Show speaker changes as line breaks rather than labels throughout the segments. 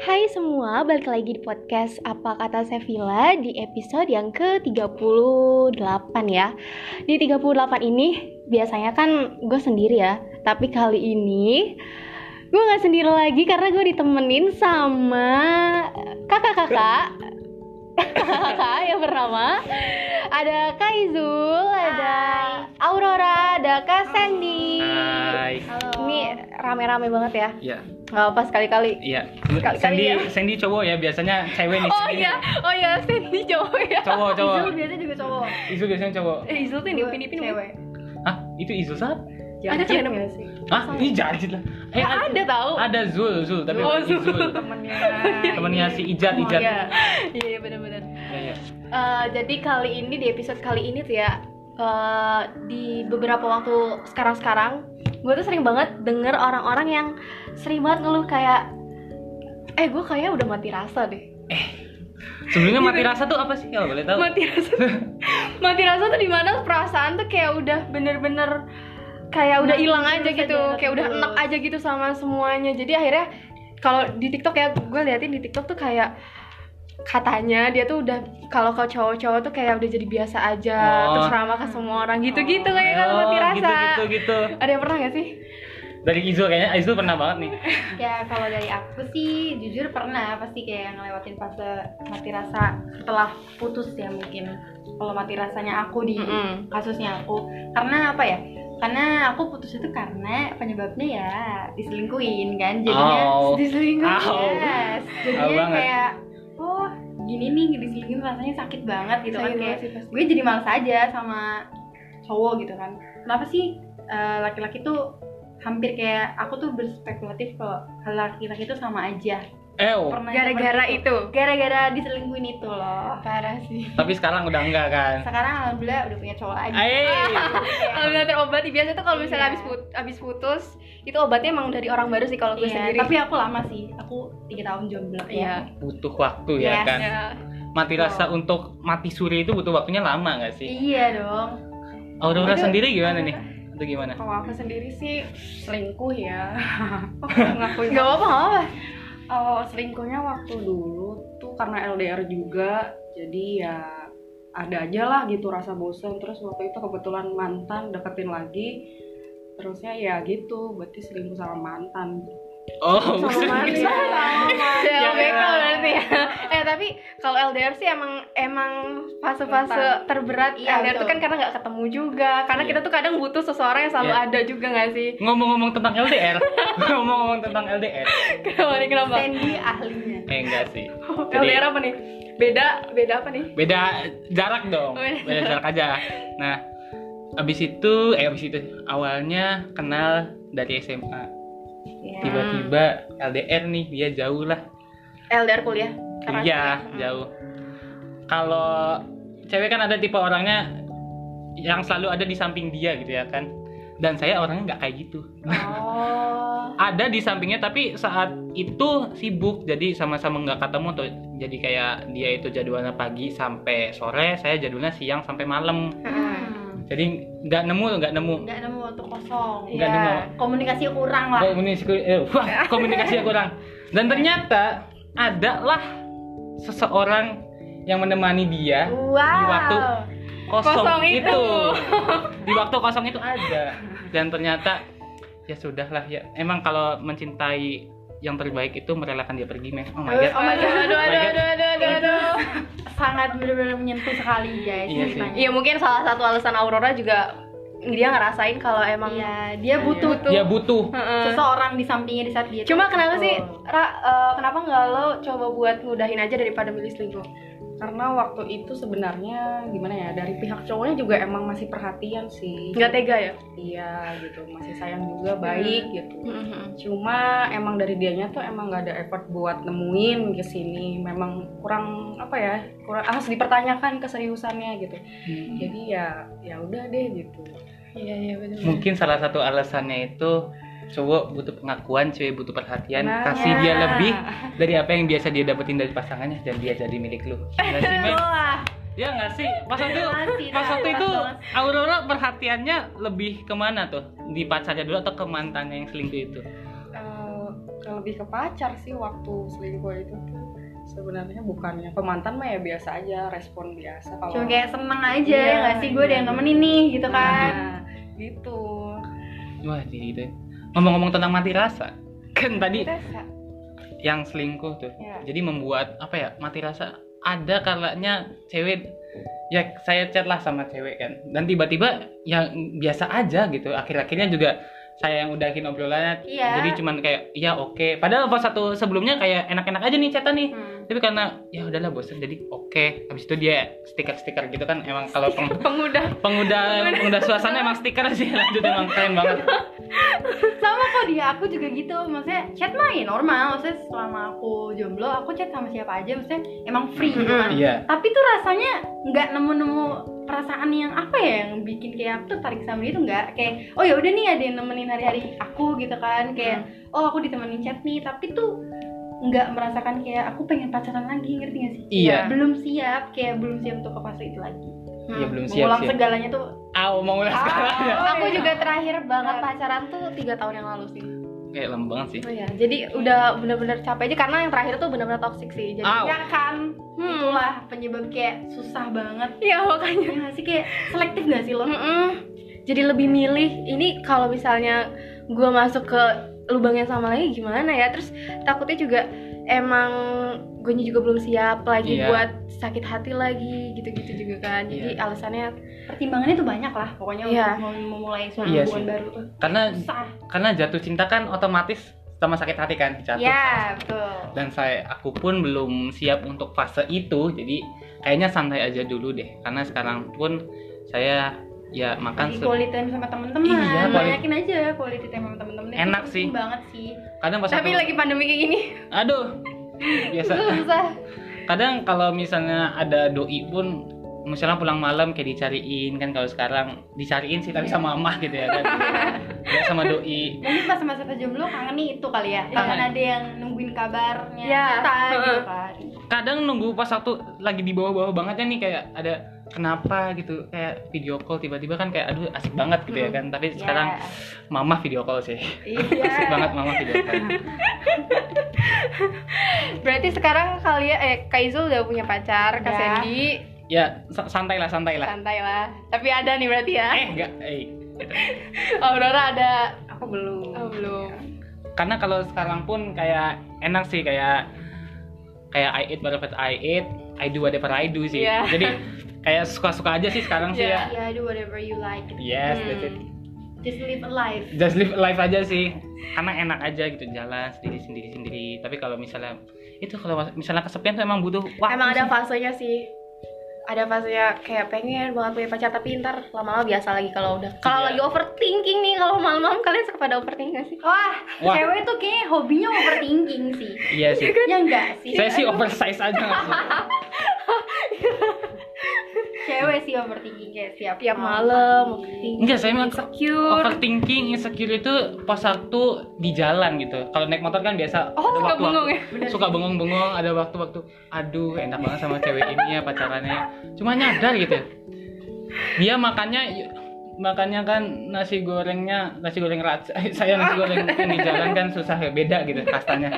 Hai semua, balik lagi di podcast Apa Kata Sevilla di episode yang ke-38 ya Di 38 ini biasanya kan gue sendiri ya Tapi kali ini gue gak sendiri lagi karena gue ditemenin sama kakak-kakak Kakak yang bernama Ada Kaizul, ada Aurora, ada Kak Sandy
Hai.
Halo.
Ini rame-rame banget ya
Iya.
Gak apa sekali-kali
Iya.
Sekali-kali
Sandy,
ya.
Sandy cowok ya biasanya cewek nih.
Oh
Sandy.
iya, oh iya, Sandy cowok ya.
Cowok, cowok.
Izul biasa juga cowok.
Itu biasanya cowok.
Eh, Izul tuh
Gua
diupin upin
cewek.
Hah? Itu Izul saat?
Ada
Janjit
kan?
nggak sih?
Hah? Ini jajit lah. Eh,
Nggak Ya, ada tau.
Ada Zul, Zul, tapi
Oh,
bukan
Zul.
Izul.
Temennya.
Temennya si Ijat,
Oh,
Ijat.
iya.
Iya, iya benar-benar.
Iya, iya.
Eh, jadi kali ini di episode kali ini tuh ya eh, di beberapa waktu sekarang-sekarang, gue tuh sering banget denger orang-orang yang sering banget ngeluh kayak eh gue kayaknya udah mati rasa deh
Sebelumnya mati rasa tuh apa sih? Kalau boleh tahu.
mati rasa mati rasa tuh dimana perasaan tuh kayak udah bener-bener kayak udah
Nah,
hilang
terus
aja
aja,
gitu
terus
kayak udah
terus.
enak aja gitu sama semuanya jadi akhirnya kalau di TikTok ya gue liatin di TikTok tuh kayak katanya dia tuh udah kalau kau cowok-cowok tuh kayak udah jadi biasa aja
Oh. Hmm.
terus ramah ke semua orang gitu-gitu kayak kalau
Oh,
mati rasa
Gitu, gitu, gitu.
ada yang pernah gak sih
Dari Izul kayaknya Izul pernah banget nih.
Ya kalau dari aku sih jujur pernah pasti kayak ngelewatin fase mati rasa setelah putus ya mungkin. Kalau mati rasanya aku di
Mm-mm.
kasusnya aku karena apa ya? Karena aku putus itu karena penyebabnya ya diselingkuin
Iya,
kan jadinya.
Oh.
diselingkuh
Au.
Yes.
Au
Jadinya
banget.
kayak oh gini nih diselingkuhin rasanya sakit banget gitu kan
Sakit
kayak
banget sih pasti.
gue jadi males aja sama cowok gitu kan kenapa sih eh, laki-laki tuh hampir kayak aku tuh berspekulatif kalau laki-laki tuh sama aja
Eh,
Pernah
gara-gara
seperti
itu
gara-gara diselingkuin itu loh
parah sih
tapi sekarang udah enggak kan?
sekarang alhamdulillah udah punya cowok aja
Eh,
Alhamdulillah terobati biasa tuh kalau misalnya
Iya.
habis put abis putus itu obatnya emang dari orang baru sih kalau gue
Iya,
sendiri
tapi aku lama sih aku tiga tahun jomblo ya
Iya.
butuh waktu ya
Yes.
kan?
Ya.
Mati rasa untuk mati suri itu butuh waktunya lama nggak sih?
iya dong
Aurora
Itu-
sendiri gimana nih? Itu gimana?
Kalau aku sendiri sih selingkuh ya.
Gak apa-apa,
Ngakuin
gak apa-apa.
Oh, selingkuhnya waktu dulu tuh karena LDR juga, jadi ya ada aja lah gitu rasa bosan. Terus waktu itu kebetulan mantan deketin lagi, terusnya ya gitu, berarti selingkuh sama mantan.
Oh,
Sama
maksudnya-
Ya,
Ya,
beko
ya.
berarti ya. Eh tapi kalau LDR sih emang emang fase-fase
Rentan.
terberat
Iya,
LDR itu
betul.
kan karena nggak ketemu juga. Karena
Iya.
kita tuh kadang butuh seseorang yang selalu
Iya.
ada juga nggak sih?
ngomong-ngomong tentang LDR, ngomong-ngomong tentang LDR,
Kenapa nih kenapa?
Sandy ahlinya
eh enggak sih. Jadi-
LDR apa nih? Beda beda apa nih?
Beda jarak dong,
Beda
beda jarak aja. Nah, abis itu, eh abis itu awalnya kenal dari SMA,
Hmm.
Iya.
tiba-tiba LDR nih dia jauh lah,
LDR kuliah. Karena
iya
kuliah.
jauh. Kalau cewek kan ada tipe orangnya yang selalu ada di samping dia gitu ya kan. Dan saya orangnya nggak kayak gitu.
Oh.
ada di sampingnya tapi saat itu sibuk jadi sama-sama nggak ketemu tuh jadi kayak dia itu jadwalnya pagi sampai sore saya jadwalnya siang sampai malam
Mm.
jadi nggak nemu nggak nemu
nggak nemu waktu kosong
Nggak
Iya.
nemu.
komunikasi kurang lah
komunikasi eh, wah, komunikasi kurang dan ternyata adalah seseorang yang menemani dia
wow
waktu kosong,
Kosong
itu.
itu.
di waktu kosong itu ada dan ternyata ya sudahlah ya emang kalau mencintai yang terbaik itu merelakan dia pergi men oh my
iya.
god
Oh my God.
Aduh, aduh, aduh, aduh, aduh, aduh.
sangat benar-benar menyentuh sekali guys
Iya sih.
ceritanya.
Iya mungkin salah satu alasan Aurora juga dia ngerasain kalau emang
Iya, dia butuh
Butuh.
dia butuh
Heeh.
seseorang di sampingnya di saat dia
Cuma kenapa
Oh.
sih, Ra, eh, kenapa nggak lo coba buat ngudahin aja daripada milih selingkuh?
Karena waktu itu sebenarnya gimana ya dari pihak cowoknya juga emang masih perhatian sih.
Nggak tega Iya. ya?
Iya gitu, masih sayang juga baik gitu.
Mm-hmm.
cuma emang dari dianya tuh emang nggak ada effort buat nemuin ke sini memang kurang apa ya kurang harus dipertanyakan keseriusannya gitu jadi ya ya udah deh gitu Hmm.
Iya iya benar.
mungkin salah satu alasannya itu cowok butuh pengakuan cewek butuh perhatian
Nah,
kasih
ya.
dia lebih dari apa yang biasa dia dapetin dari pasangannya dan dia jadi milik lu Nggak Iya sih, men?
gitu. Wah,
ya nggak sih pas waktu
Pasti,
pas waktu
pas
itu
banget.
Aurora perhatiannya lebih kemana tuh di pacarnya dulu atau ke mantannya yang selingkuh itu
Eh, ke lebih ke pacar sih waktu selingkuh itu tuh sebenarnya bukannya pemantan mah ya biasa aja respon biasa kalau
cuma kayak seneng aja
Oh. Iya,
ya nggak sih gue ada yang nemenin nih gitu kan
Nah, gitu
Wah, jadi itu. Ngomong-ngomong tentang mati rasa, kan tadi
Rasa.
yang selingkuh tuh.
ya.
Iya.
Jadi membuat apa ya? Mati rasa ada kalanya cewek ya saya chat lah sama cewek kan dan tiba-tiba yang biasa aja gitu akhir-akhirnya juga saya yang udahin obrolannya
Iya.
jadi cuman kayak ya oke padahal pas satu sebelumnya kayak enak-enak aja nih chatan nih
Hmm.
tapi karena ya udahlah bosen jadi oke habis itu dia stiker-stiker gitu kan emang kalau peng-
pengudah
pengudah pengudah suasana emang stiker sih lanjut emang keren banget
sama kok dia aku juga gitu maksudnya chat mah ya normal maksudnya selama aku jomblo aku chat sama siapa aja maksudnya emang free gitu kan
iya
tapi tuh rasanya nggak nemu-nemu perasaan yang apa ya yang bikin kayak aku tuh tarik sama dia tuh nggak kayak oh ya udah nih ada yang nemenin hari-hari aku gitu kan kayak
Hmm.
oh aku ditemenin chat nih tapi tuh nggak merasakan kayak aku pengen pacaran lagi ngerti gak sih
Iya.
belum siap kayak belum siap untuk ke fase itu lagi
Iya, belum siap
Hmm. mengulang
sih.
segalanya tuh
Au, mau ulang sekarang ya.
Oh,
Aku
iya.
juga terakhir banget pacaran tuh tiga tahun yang lalu sih.
Kayak lama banget sih.
Oh ya, jadi udah bener-bener capek aja karena yang terakhir tuh bener-bener toxic sih. Jadi
Au.
ya kan
Hmm.
itulah penyebab kayak susah banget
ya makanya.
ya nggak sih kayak selektif gak sih lo
Hmm.
Mm-mm. Jadi lebih milih ini kalau misalnya gua masuk ke lubang yang sama lagi gimana ya? Terus takutnya juga emang gue juga belum siap lagi
Iya.
buat sakit hati lagi gitu-gitu juga kan. Jadi alasannya
pertimbangannya tuh banyak lah pokoknya
Iya.
untuk mem- memulai suatu
Iya
hubungan
sih.
baru tuh
Karena
susah
karena jatuh cinta kan otomatis sama sakit hati kan jatuh.
ya betul
Dan saya aku pun belum siap untuk fase itu. Jadi kayaknya santai aja dulu deh. Karena sekarang pun saya ya makan
Lagi
se-
quality time sama teman-teman
Iya, quali-
banyakin aja quality time sama teman-teman Itu
Enak
penting
sih.
banget sih
kadang pas
tapi
aku-
lagi pandemi kayak gini
aduh biasa
susah.
kadang kalau misalnya ada doi pun misalnya pulang malam kayak dicariin kan kalau sekarang dicariin sih tapi
Iya.
sama mamah gitu ya kan Nggak sama doi
mungkin pas masa jomblo kangen nih itu kali ya kangen
Iya.
ada yang nungguin kabarnya
Iya.
kita gitu
Heeh.
kan
kadang nunggu pas satu lagi di bawah-bawah banget ya nih kayak ada kenapa gitu kayak video call tiba-tiba kan kayak aduh asik banget gitu ya kan tapi
Ya.
sekarang mama video call sih
iya
asik banget mama video call
Berarti sekarang kalian eh Kaizul udah punya pacar, Kak
Udah.
Sandy
ya sa- santai lah santai lah
santai lah. Tapi ada nih berarti ya.
eh enggak eh gitu.
Aurora ada.
aku belum
Oh, belum.
karena kalau sekarang pun kayak enak sih kayak kayak I eat whatever I eat I do whatever I do sih
Iya.
jadi kayak suka-suka aja sih sekarang sih ya
ya do whatever you like
yes that's it
just live a life
just live life aja sih karena enak aja gitu jalan sendiri sendiri sendiri tapi kalau misalnya itu kalau misalnya kesepian tuh emang butuh waktu
Emang ada
sih.
fasenya sih. Ada fasenya kayak pengen banget punya pacar tapi ntar lama-lama biasa lagi kalau udah. Kalau
Iya.
lagi overthinking nih kalau malam-malam kalian suka pada overthinking gak sih?
wah,
Wah.
cewek tuh kayak hobinya overthinking sih
iya sih
ya enggak sih
saya sih oversize aja nggak sih.
cewek sih overthinking kayak siap
Tiap malam overthinking.
enggak saya emang
Insecure.
overthinking insecure itu pas waktu di jalan gitu kalau naik motor kan biasa
Oh, suka bengong ya?
suka bengong-bengong ada waktu-waktu aduh enak banget sama cewek ini ya pacarannya cuma nyadar gitu dia makannya makannya kan nasi gorengnya nasi goreng raja saya nasi goreng yang di jalan kan susah ya beda gitu kastanya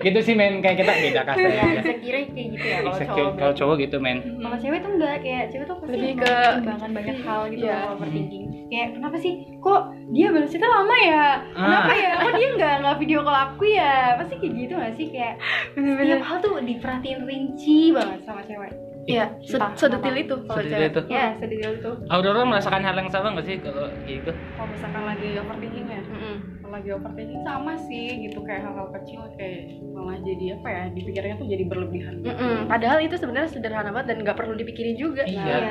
gitu sih men kayak kita beda kastanya
ya
ya.
sekira kayak gitu ya kalau
Insecure.
cowok
kalau cowok gitu men
sama cewek tuh enggak kayak cewek tuh pasti
Lebih
emang
ke-
pertimbangan banyak hal gitu
Iya.
kalau overthinking kayak kenapa sih kok dia balasnya lama ya kenapa ya kok dia nggak nggak video call aku ya pasti kayak gitu gak sih kayak
Iya.
setiap hal tuh diperhatiin rinci banget sama cewek
Iya, se-
Entah
sedetil
kenapa.
itu kalau cewek.
Sedetil
Iya.
itu.
ya sedetail tuh
Aurora merasakan hal yang sama nggak sih kalau gitu
kalau misalkan lagi overthinking ya
Mm-mm.
kalau lagi overthinking sama sih gitu kayak hal-hal kecil kayak malah jadi apa ya dipikirnya tuh jadi berlebihan gitu.
Mm-mm. Padahal itu sebenarnya sederhana banget dan nggak perlu dipikirin juga.
Iya.
Iya.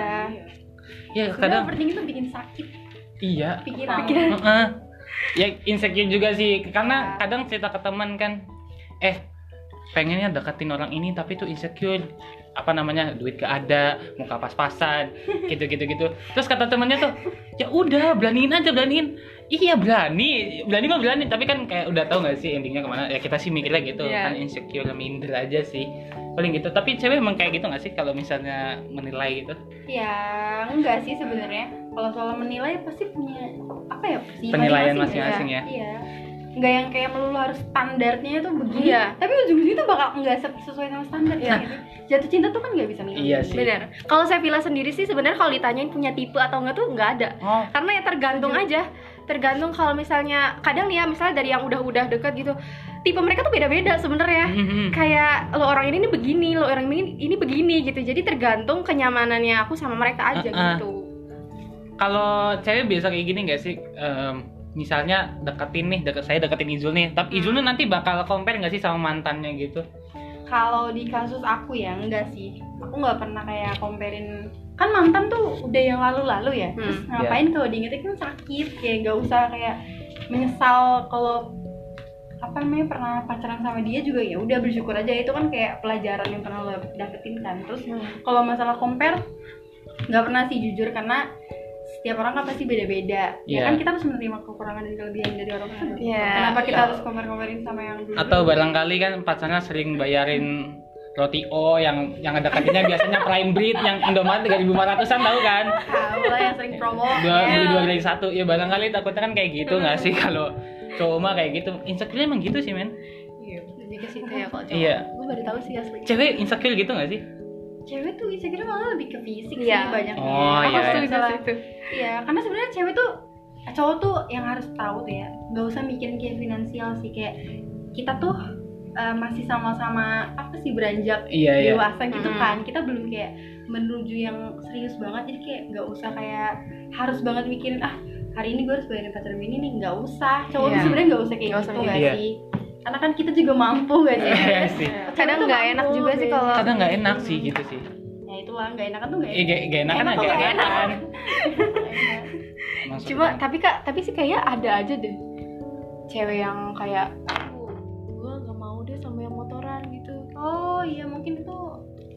ya
kadang
kadang
overthinking tuh bikin sakit
iya
pikiran
Pikiran.
Heeh. ya insecure juga sih karena kadang cerita ke teman kan eh pengennya deketin orang ini tapi tuh insecure apa namanya duit gak ada muka pas-pasan gitu gitu gitu terus kata temannya tuh ya udah beraniin aja beraniin iya berani berani mah berani tapi kan kayak udah tahu nggak sih endingnya kemana ya kita sih mikirnya gitu
Iya.
kan insecure minder aja sih paling gitu tapi cewek emang kayak gitu nggak sih kalau misalnya menilai gitu
ya enggak sih sebenarnya kalau soal menilai pasti punya apa ya persepsi
Penilaian
masing-masing
masing-masing ya.
iya nggak yang kayak melulu harus standarnya itu begini
Iya.
tapi ujung-ujungnya tuh bakal nggak se- sesuai sama standar
Iya.
ya jatuh cinta tuh kan nggak bisa milih
Iya sih.
Benar. Kalau Sevilla sendiri sih sebenarnya kalau ditanyain punya tipe atau enggak tuh nggak ada.
Oh,
Karena ya tergantung aja. Tergantung kalau misalnya kadang nih ya misalnya dari yang udah-udah deket gitu, tipe mereka tuh beda-beda sebenarnya.
Hmm,
Kayak lo orang ini, ini begini, lo orang ini ini begini gitu. Jadi tergantung kenyamanannya aku sama mereka aja
Uh-uh.
gitu.
kalau cewek biasa kayak gini nggak sih? Em, misalnya deketin nih, deket saya deketin Izul nih,
Hmm.
tapi Izul nih nanti bakal compare nggak sih sama mantannya gitu?
kalau di kasus aku ya enggak sih aku nggak pernah kayak komperin kan mantan tuh udah yang lalu-lalu ya terus
Hmm,
ngapain kalau diingetin kan sakit kayak nggak usah kayak menyesal kalau apa namanya pernah pacaran sama dia juga ya udah bersyukur aja itu kan kayak pelajaran yang pernah lo dapetin kan terus
Hmm.
kalau masalah compare nggak pernah sih jujur karena setiap orang kan pasti beda-beda ya
Iya.
kan kita harus menerima kekurangan dan kelebihan dari orang lain
Iya.
kenapa kita harus compare-comparein sama yang dulu
Atau barangkali kan pacarnya sering bayarin roti O yang yang deketinnya biasanya prime breed yang Indomaret 3500-an tahu kan?
tahu lah yang sering promo
Iya.
dua
ya.
beli dua beli satu ya barangkali takutnya kan kayak gitu nggak
Hmm.
sih kalau cowok mah kayak gitu insecure emang gitu sih men
Iya, Lebih ke situ ya kalau cowok.
Iya.
Gue baru tahu sih asli.
cewek insecure gitu nggak sih
cewek tuh insecure malah lebih ke fisik
Iya.
sih banyak
Oh, iya, iya.
itu.
iya karena sebenarnya cewek tuh cowok tuh yang harus tahu tuh ya nggak usah mikirin kayak finansial sih kayak kita tuh eh, masih sama-sama apa sih beranjak
iya iya
dewasa gitu
Mm.
kan kita belum kayak menuju yang serius banget jadi kayak nggak usah kayak harus banget mikirin ah hari ini gue harus bayarin pacar gue ini nih nggak usah cowok tuh
Iya.
sebenarnya nggak usah kayak
Nggak usah
gitu nggak
mikirin.
sih karena kan kita juga mampu nggak sih
Iya sih
Cewek
Kadang
tuh
nggak
mampu,
enak juga sih
guys.
kalau
kadang nggak enak sih gitu sih
ya itulah nggak enakan tuh nggak
eh gak, gak enak kan
Enak
agak
kok,
enak kan
enak.
Cuma tapi kak tapi sih kayaknya ada aja deh cewek yang kayak gue nggak mau deh sama yang motoran gitu.
Oh iya mungkin itu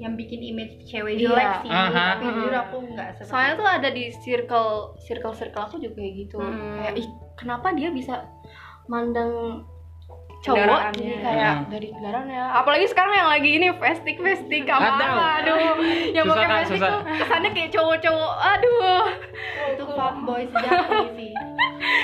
yang bikin image cewek
Iya.
jelek sih.
Aha.
Tapi jujur aku nggak seperti.
Soalnya tuh ada di circle circle circle aku juga kayak gitu.
Hmm.
Kayak ih kenapa dia bisa mandang cowok
Kendaraannya.
jadi kayak
Hmm.
dari kendaraan ya apalagi sekarang yang lagi ini festik festik apa
Ada.
aduh yang
Susah,
pakai
Kak,
festik
susah.
tuh kesannya kayak cowok-cowok aduh
itu fuckboy sejati sih.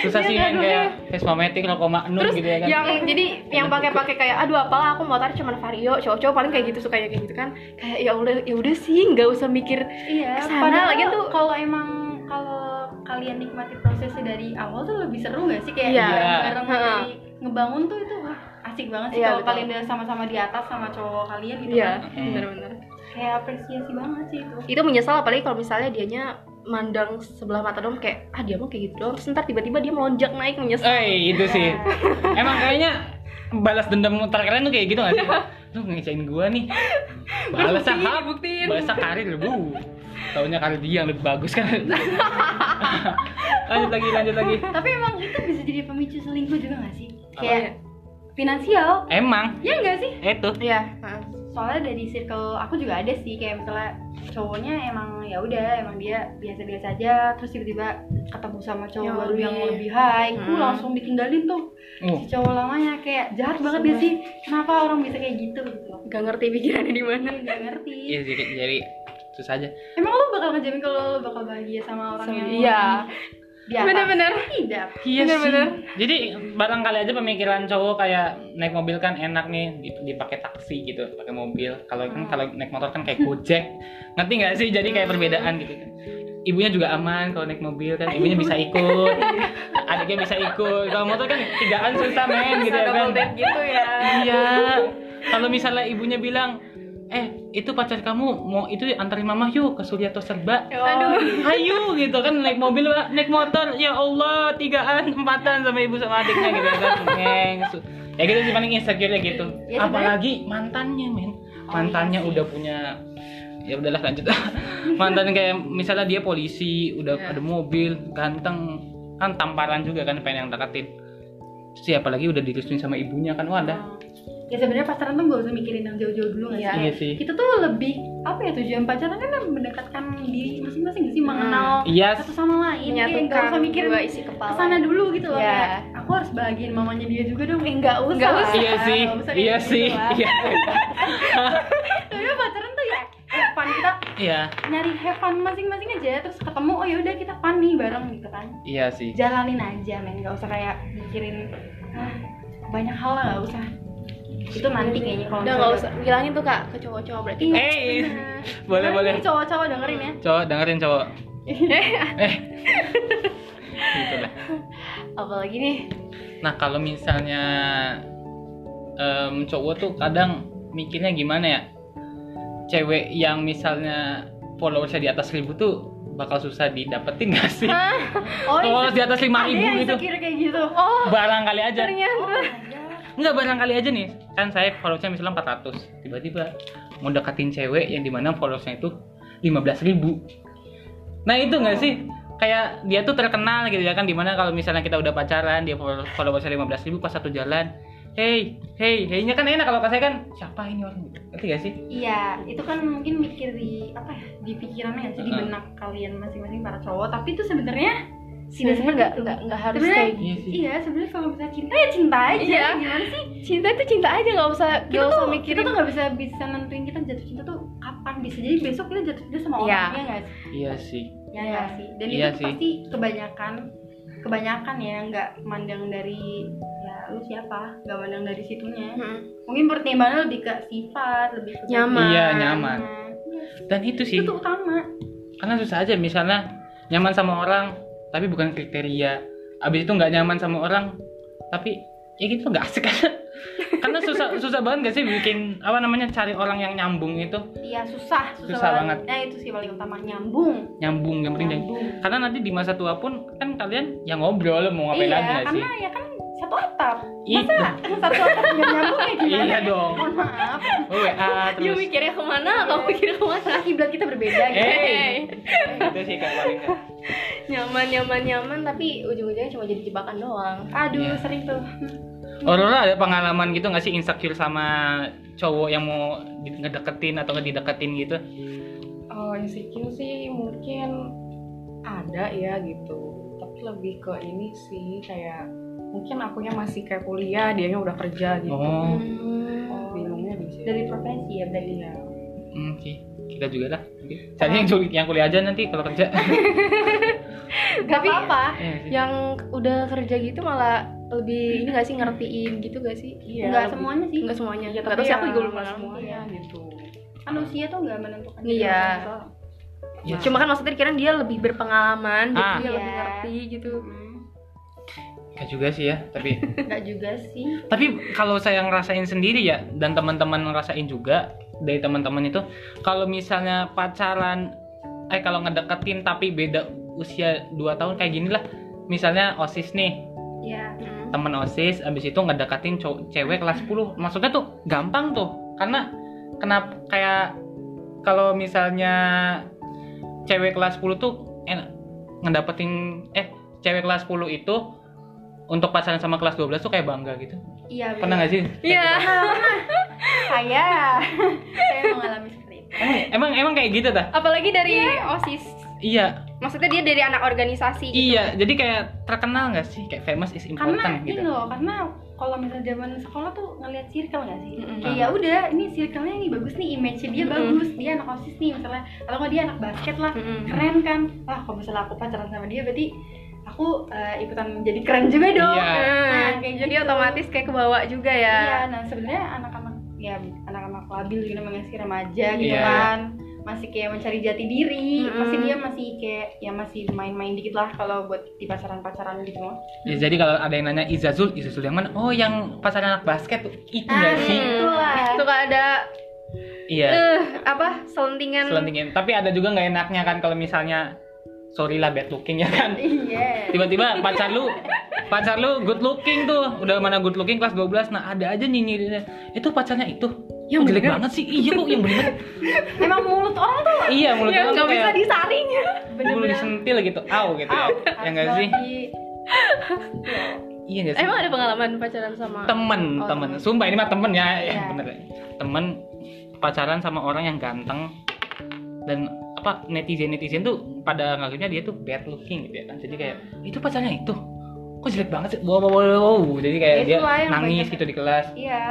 susah
iya,
sih men
aduh,
kayak Vespa-matic Rokoma Nur
terus
gitu ya kan
yang jadi yang pakai-pakai kayak aduh apalah aku motor cuman vario cowok-cowok paling kayak gitu sukanya kayak gitu kan kayak ya udah ya udah sih nggak usah mikir
Iya.
Kesana
padahal
lagi tuh-
kalau emang kalau kalian nikmati prosesnya dari awal tuh lebih seru nggak sih kayak
Iya.
bareng
Heeh.
dari ngebangun tuh itu wah asik banget sih
Iya,
kalau
betul.
kalian udah sama-sama di atas sama cowok kalian gitu kan.
iya
Mm.
benar-benar
Kayak apresiasi banget sih itu.
itu menyesal apalagi kalau misalnya dianya mandang sebelah mata dong kayak ah dia mau kayak gitu doang terus ntar tiba-tiba dia melonjak naik menyesal
Eh itu sih emang kayaknya balas dendam terakhirnya tuh kayak gitu nggak sih lu ngecewain gua nih balas sahab
dibuktiin.
balas karir bu taunya karir dia yang lebih bagus kan lanjut lagi lanjut lagi
Tapi emang itu bisa jadi pemicu selingkuh juga nggak sih?
Apa? ya?
Kayak finansial.
emang Eh,
Ya nggak sih?
itu
iya heeh.
soalnya dari circle aku juga ada sih kayak misalnya cowoknya emang ya udah emang dia biasa-biasa aja terus tiba-tiba ketemu sama cowok
Yang
baru
lebih-
yang lebih high aku
Hmm.
langsung ditinggalin tuh
uh,
si cowok lamanya kayak jahat banget dia sih kenapa orang bisa kayak gitu gitu loh
nggak ngerti pikirannya di mana
Gue nggak ngerti
iya sih jadi susah aja
emang lo bakal ngejamin kalau lo bakal bahagia sama orang yang
Iya.
dia
Bener-bener.
tidak
iya
Bener-bener.
jadi barangkali aja pemikiran cowok kayak naik mobil kan enak nih dip- dipakai taksi gitu pakai mobil kalau kan
Hmm.
kalau naik motor kan kayak gojek ngerti nggak sih jadi kayak perbedaan gitu ibunya juga aman kalau naik mobil kan ibunya bisa ikut
Iya.
adiknya bisa ikut kalau motor kan tigaan susah men gitu ya
Bisa
kan
double date gitu ya.
iya kalau misalnya ibunya bilang eh itu pacar kamu mau itu antarin mama yuk ke Suryato Serba
Ya aduh
ayo gitu kan naik mobil Pak. naik motor ya Allah tigaan empatan sama ibu sama adiknya gitu kan Neng, su- ya gitu sih paling insecure gitu
Ya, sebenarnya-
apalagi mantannya men mantannya udah punya ya udahlah lanjut mantan kayak misalnya dia polisi udah
Ya.
ada mobil ganteng kan tamparan juga kan pengen yang deketin siapa lagi udah direstuin sama ibunya kan wadah
ya sebenarnya pacaran tuh gak usah mikirin yang jauh-jauh dulu
Iya.
nggak sih
Iya sih.
kita tuh lebih apa ya tujuan pacaran kan mendekatkan diri masing-masing nggak sih
Hmm.
mengenal
iya
satu sama lain kayak nggak usah
menyatukan
mikir
dua isi kepala
kesana dulu gitu loh
Iya.
kayak aku harus bahagiin mamanya dia juga dong eh nggak usah
Nggak
lah.
usah.
iya sih
gitu Nggak usah kayak
iya
gitu
sih
lah.
iya
tapi pacaran tuh ya eh, fun kita
iya
nyari have fun masing-masing aja terus ketemu oh yaudah kita fun nih bareng gitu kan
iya sih
jalanin aja men nggak usah kayak mikirin "Ah, banyak hal lah nggak usah itu nanti kayaknya kalau
udah nggak usah bilangin tuh kak ke cowok-cowok berarti
Iya,
Eh, iya.
bener.
Boleh,
Karena
boleh.
ini cowok-cowok dengerin ya
cowok dengerin cowok
Iya.
eh gitu lah
apalagi nih
Nah kalau misalnya em, cowok tuh kadang mikirnya gimana ya Cewek yang misalnya followersnya di atas 1000 tuh bakal susah didapetin gak sih?
oh
Followers di atas 5000
ada yang
gitu
insecure kayak gitu oh
Barangkali aja
oh
ternyata
Enggak barangkali aja nih Kan saya followersnya misalnya 400 Tiba-tiba mau deketin cewek yang dimana followersnya itu 15.000 Nah itu gak sih? Kayak dia tuh terkenal gitu ya kan Dimana kalau misalnya kita udah pacaran Dia follow- followersnya 15.000 pas satu jalan Hey, hey, hey-nya kan enak kalau kata saya kan Siapa ini orang? Ngerti gak sih?
Iya, itu kan mungkin mikir di apa ya di pikirannya sih di
Heeh.
benak kalian masing-masing para cowok. Tapi itu sebenarnya
sini sebenarnya nggak
gitu.
nggak nggak harus
Sebenarnya-
kayak
Iya sih
Iya, sebenarnya kalau bisa cinta ya cinta aja.
Iya.
Gimana sih?
cinta itu cinta aja nggak usah
Kita
nggak usah
tuh kita
mikirin
tuh nggak bisa bisa nentuin kita jatuh cinta tuh kapan bisa. Jadi besok kita jatuh cinta sama
Iya.
orangnya guys.
Iya sih
Ya,
Iya.
nggak sih. Dan
Iya
itu tuh
sih.
pasti kebanyakan kebanyakan ya nggak mandang dari ya lu siapa nggak mandang dari situnya
Mm-mm.
mungkin pertimbangannya lebih ke sifat lebih ke
Hmm. Nyaman.
Iya
badannya.
nyaman Dan itu sih
itu tuh utama
karena susah aja misalnya nyaman sama orang tapi bukan kriteria abis itu nggak nyaman sama orang tapi ya gitu nggak asik kan karena susah susah banget gak sih bikin apa namanya cari orang yang nyambung itu
Iya susah, susah,
Susah banget.
Nah itu sih paling utama nyambung.
nyambung yang penting
Nyambung.
karena nanti di masa tua pun kan kalian yang ngobrol mau ngapain
iya,
lagi gak sih
karena ya kan satu atap.
Ih,
Masa satu atap nggak nyambung ya gimana?
iya dong
Mohon maaf,
WA
you
terus
mikirnya kemana kamu mikirnya kemana
kiblat kita berbeda gitu.
eh itu sih kak paling Kak.
nyaman nyaman nyaman tapi ujung-ujungnya cuma jadi jebakan doang
Aduh
Iya.
sering tuh.
Aurora ada pengalaman gitu gak sih insecure sama cowok yang mau di- ngedeketin atau dideketin gitu
Oh, insecure sih mungkin ada ya gitu. Tapi lebih ke ini sih kayak mungkin akunya masih kayak kuliah, dianya udah kerja gitu.
oh
Hmm.
Bingungnya di situ.
Dari profesi ya berarti.
Iya.
Hmm, sih. Kita juga lah. Cari yang kuliah, yang kuliah aja nanti kalau kerja.
Gak apa-apa.
Iya sih.
yang udah kerja gitu malah lebih ini gak sih ngertiin gitu gak sih
Iya.
Nggak
lebih-
semuanya sih.
nggak semuanya
Iya,
nggak tahu sih aku juga belum pernah ya.
semuanya gitu.
Kan usia tuh nggak menentukan.
Iya.
Iya.
cuma kan maksudnya dikira dia lebih berpengalaman jadi
Ah.
dia
Iya.
lebih ngerti gitu
Hmm,
Nggak juga sih ya, tapi
Enggak juga sih.
tapi kalau saya ngerasain sendiri ya dan teman-teman ngerasain juga dari teman-teman itu kalau misalnya pacaran eh kalau ngedeketin tapi beda usia 2 tahun kayak gini lah. Misalnya OSIS nih,
Iya.
temen OSIS abis itu ngedeketin cow- cewek kelas 10. Maksudnya tuh gampang tuh. Karena kenapa kayak kalau misalnya cewek kelas 10 tuh enak ngedapetin eh cewek kelas 10 itu untuk pacaran sama kelas 12 tuh kayak bangga gitu.
Iya.
Pernah nggak sih?
iya
Saya. Saya mengalami seperti itu.
Eh, emang emang kayak gitu dah.
apalagi dari osis
Iya,
maksudnya dia dari anak organisasi gitu.
iya. Jadi kayak terkenal nggak sih? Kayak famous is important
karena
gitu.
ini loh karena kalau misalnya zaman sekolah tuh ngelihat circle nggak sih
Mm-mm.
kayak ya udah ini circle-nya ini bagus nih image dia
Mm-mm.
bagus dia anak osis nih misalnya atau nggak dia anak basket lah
Mm-mm.
keren kan wah kalau misalnya aku pacaran sama dia berarti aku eh, ikutan jadi keren juga dong
Iya.
Nah,
kayak
jadi
gitu.
otomatis kayak kebawa juga ya
iya nah sebenarnya anak-anak ya anak-anak labil gitu namanya sih remaja gitu
Iya.
kan masih kayak mencari jati diri
Mm-mm.
pasti dia masih kayak ya masih main-main dikit lah kalau buat di pacaran-pacaran gitu mah
Ya, jadi kalau ada yang nanya Izazul, Izazul yang mana? Oh, yang pacaran anak basket tuh. Itu nggak
Ah, Uh.
sih?
gitu lah.
Tuh kalau ada
Iya.
eh, apa selentingan
selentingin tapi ada juga nggak enaknya kan kalau misalnya sorry lah bad looking ya kan
iya
tiba-tiba pacar lu pacar lu good looking tuh udah mana good looking kelas 12 nah ada aja nyinyirinnya itu pacarnya itu yang jelek banget sih iya kok yang bener
emang mulut orang tuh
iya mulut
yang
orang
nggak
tuh
bisa
kayak
disaring
bulu disentil gitu au gitu ya ya nggak sih iya nggak sih
emang ada pengalaman pacaran sama
temen
Oh,
temen
temen.
sumpah ini mah temen ya ya
Iya.
bener temen pacaran sama orang yang ganteng dan apa netizen netizen tuh pada nganggapnya dia tuh bad looking gitu ya kan jadi kayak
Hmm.
itu pacarnya itu kok jelek banget sih wow wow wow, wow. jadi kayak
Itu
dia
lah Iya yang
nangis
banyak-
gitu di kelas
iya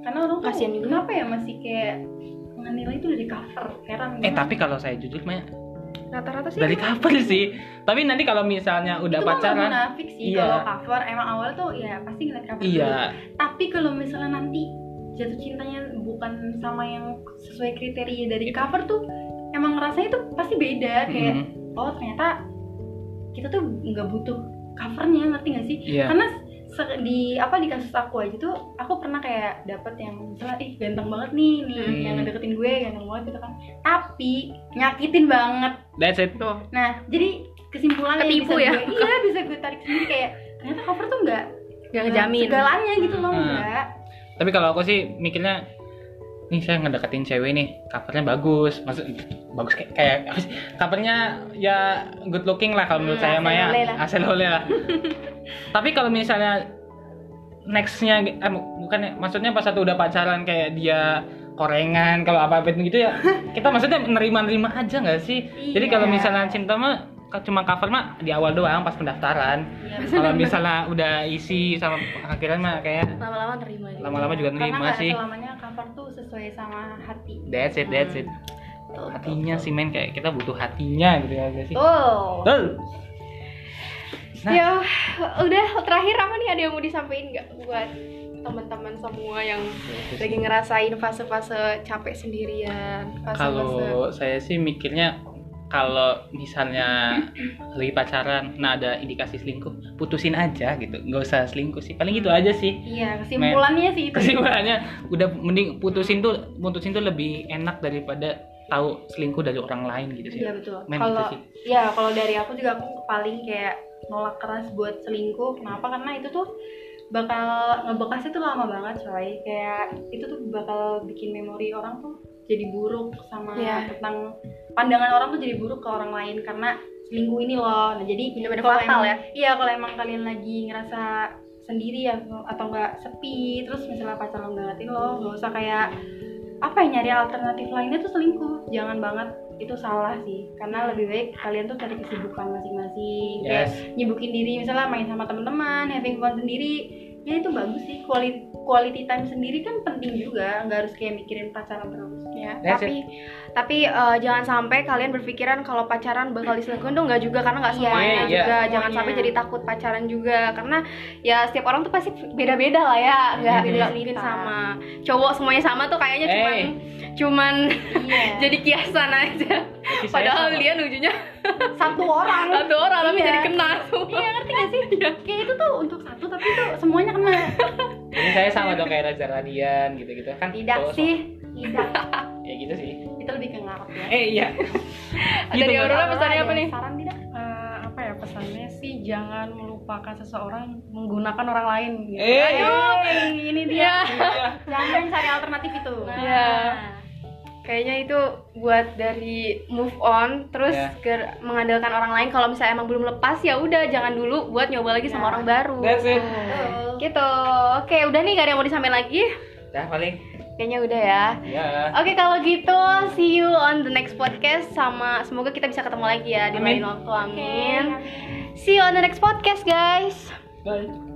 karena orang tuh
Kasian juga.
kenapa ya masih kayak ngenilai itu dari cover heran gitu.
Eh
banget.
tapi kalau saya jujur mah
rata-rata sih
dari cover sih. Tapi nanti kalau misalnya Iya, udah
itu mah nggak
pacaran,
munafik sih
Iya.
kalau cover emang awal tuh ya pasti ngeliat cover dulu.
iya.
tapi kalau misalnya nanti jatuh cintanya bukan sama yang sesuai kriteria dari cover tuh emang rasanya tuh pasti beda kayak
Mm,
oh ternyata kita tuh nggak butuh covernya ngerti gak sih
Iya.
karena se- di apa di kasus aku aja tuh aku pernah kayak dapet yang misalnya ih ganteng banget nih nih
Hmm.
yang ngedeketin gue ganteng banget gitu kan tapi nyakitin banget
That's it.
tuh
nah jadi kesimpulannya yang
Ketipu
bisa
ya?
gue, iya bisa gue tarik sendiri kayak ternyata cover tuh nggak
gak ngejamin
segalanya gitu loh
Hmm.
enggak
Tapi kalau aku sih mikirnya nih saya ngedeketin cewek nih, covernya bagus. Maksud bagus kayak, kayak apa sih? covernya ya good looking lah kalau menurut
Hmm,
saya Maya.
aselole lah.
Asal oleh lah. Tapi kalau misalnya nextnya eh, bukan maksudnya pas satu udah pacaran kayak dia korengan kalau apa apa gitu ya kita maksudnya nerima-nerima aja nggak sih jadi kalau
Iya.
misalnya cinta mah ka- cuma cover mah di awal doang pas pendaftaran
Iya,
kalau misalnya udah isi sama akhiran mah kayak
lama-lama nerima gitu.
lama-lama juga
karena
nerima
nggak
sih
selamanya cover tuh sesuai sama hati
that's it that's it
Tuh,
Hmm.
hatinya sih men kayak kita butuh hatinya gitu ya nggak
Oh.
sih
tuh
Betul. Nah.
Ya, udah terakhir apa nih ada yang mau disampaikan nggak buat teman-teman semua yang lagi ngerasain fase-fase capek sendirian, fase-fase
kalau saya sih mikirnya kalau misalnya lagi pacaran nah ada indikasi selingkuh putusin aja gitu nggak usah selingkuh sih paling
Hmm.
gitu aja sih
iya kesimpulannya sih itu
kesimpulannya udah mending putusin tuh putusin tuh lebih enak daripada tahu selingkuh dari orang lain gitu sih
Iya betul.
Men,
Kalau
gitu sih.
ya kalau dari aku juga aku paling kayak nolak keras buat selingkuh. Kenapa? Karena itu tuh bakal ngebekasnya tuh lama banget coy. Kayak itu tuh bakal bikin memori orang tuh jadi buruk sama
Iya.
tentang pandangan orang tuh jadi buruk ke orang lain karena selingkuh ini loh. Nah, jadi
Bener-bener
kalau
fatal
emang-
ya.
Iya, kalau emang kalian lagi ngerasa sendiri ya atau nggak sepi terus misalnya pacar lo nggak ngerti lo nggak usah kayak apa ya nyari alternatif lainnya tuh selingkuh jangan banget itu salah sih karena lebih baik kalian tuh cari kesibukan
iya,
masing-masing kayak
yes
nyibukin diri misalnya main sama teman-teman having fun sendiri ya itu bagus sih quality quality time sendiri kan penting juga nggak harus kayak mikirin pacaran terus
ya.
That's
tapi tapi eh, jangan sampai kalian berpikiran kalau pacaran bakal diselingkuhin tuh nggak juga karena nggak
Iya,
semuanya
iya.
juga. Jangan
Semuanya.
sampai jadi takut pacaran juga karena ya setiap orang tuh pasti beda-beda lah ya. Nggak
Beda
nggak mungkin
cerita.
sama. Cowok semuanya sama tuh kayaknya cuman
Iya, Eh.
cuman
iya
jadi kiasan aja.
Berarti saya
Padahal
sama.
dia ujungnya
satu orang
satu orang tapi
Iya.
jadi kena semua.
iya ngerti gak sih kayak itu tuh untuk satu tapi tuh semuanya kena
Jadi saya sama dong kayak Reza Radian gitu-gitu kan
tidak
cowok
sih tidak
sama- ya gitu sih
itu lebih ke ngarep ya
eh iya Gitu,
Dari Aurora
Mbak.
Aurora,
ya pesannya
ada
apa nih?
saran tidak
Eh, apa ya pesannya sih jangan melupakan seseorang menggunakan orang lain gitu.
eh
Hey, ini
Iya.
dia jangan cari alternatif itu
Iya. Kayaknya itu buat dari move on terus
Iya.
ke- mengandalkan orang lain kalau misalnya emang belum lepas ya udah jangan dulu buat nyoba lagi sama
Iya.
orang baru.
that's it
Betul.
Gitu. Oke, udah nih gak ada yang mau disampaikan lagi?
dah paling
Kayaknya udah ya.
ya
Oke, kalau gitu see you on the next podcast sama semoga kita bisa ketemu lagi ya di lain
Amin.
waktu. Amin. See you on the next podcast, guys.
bye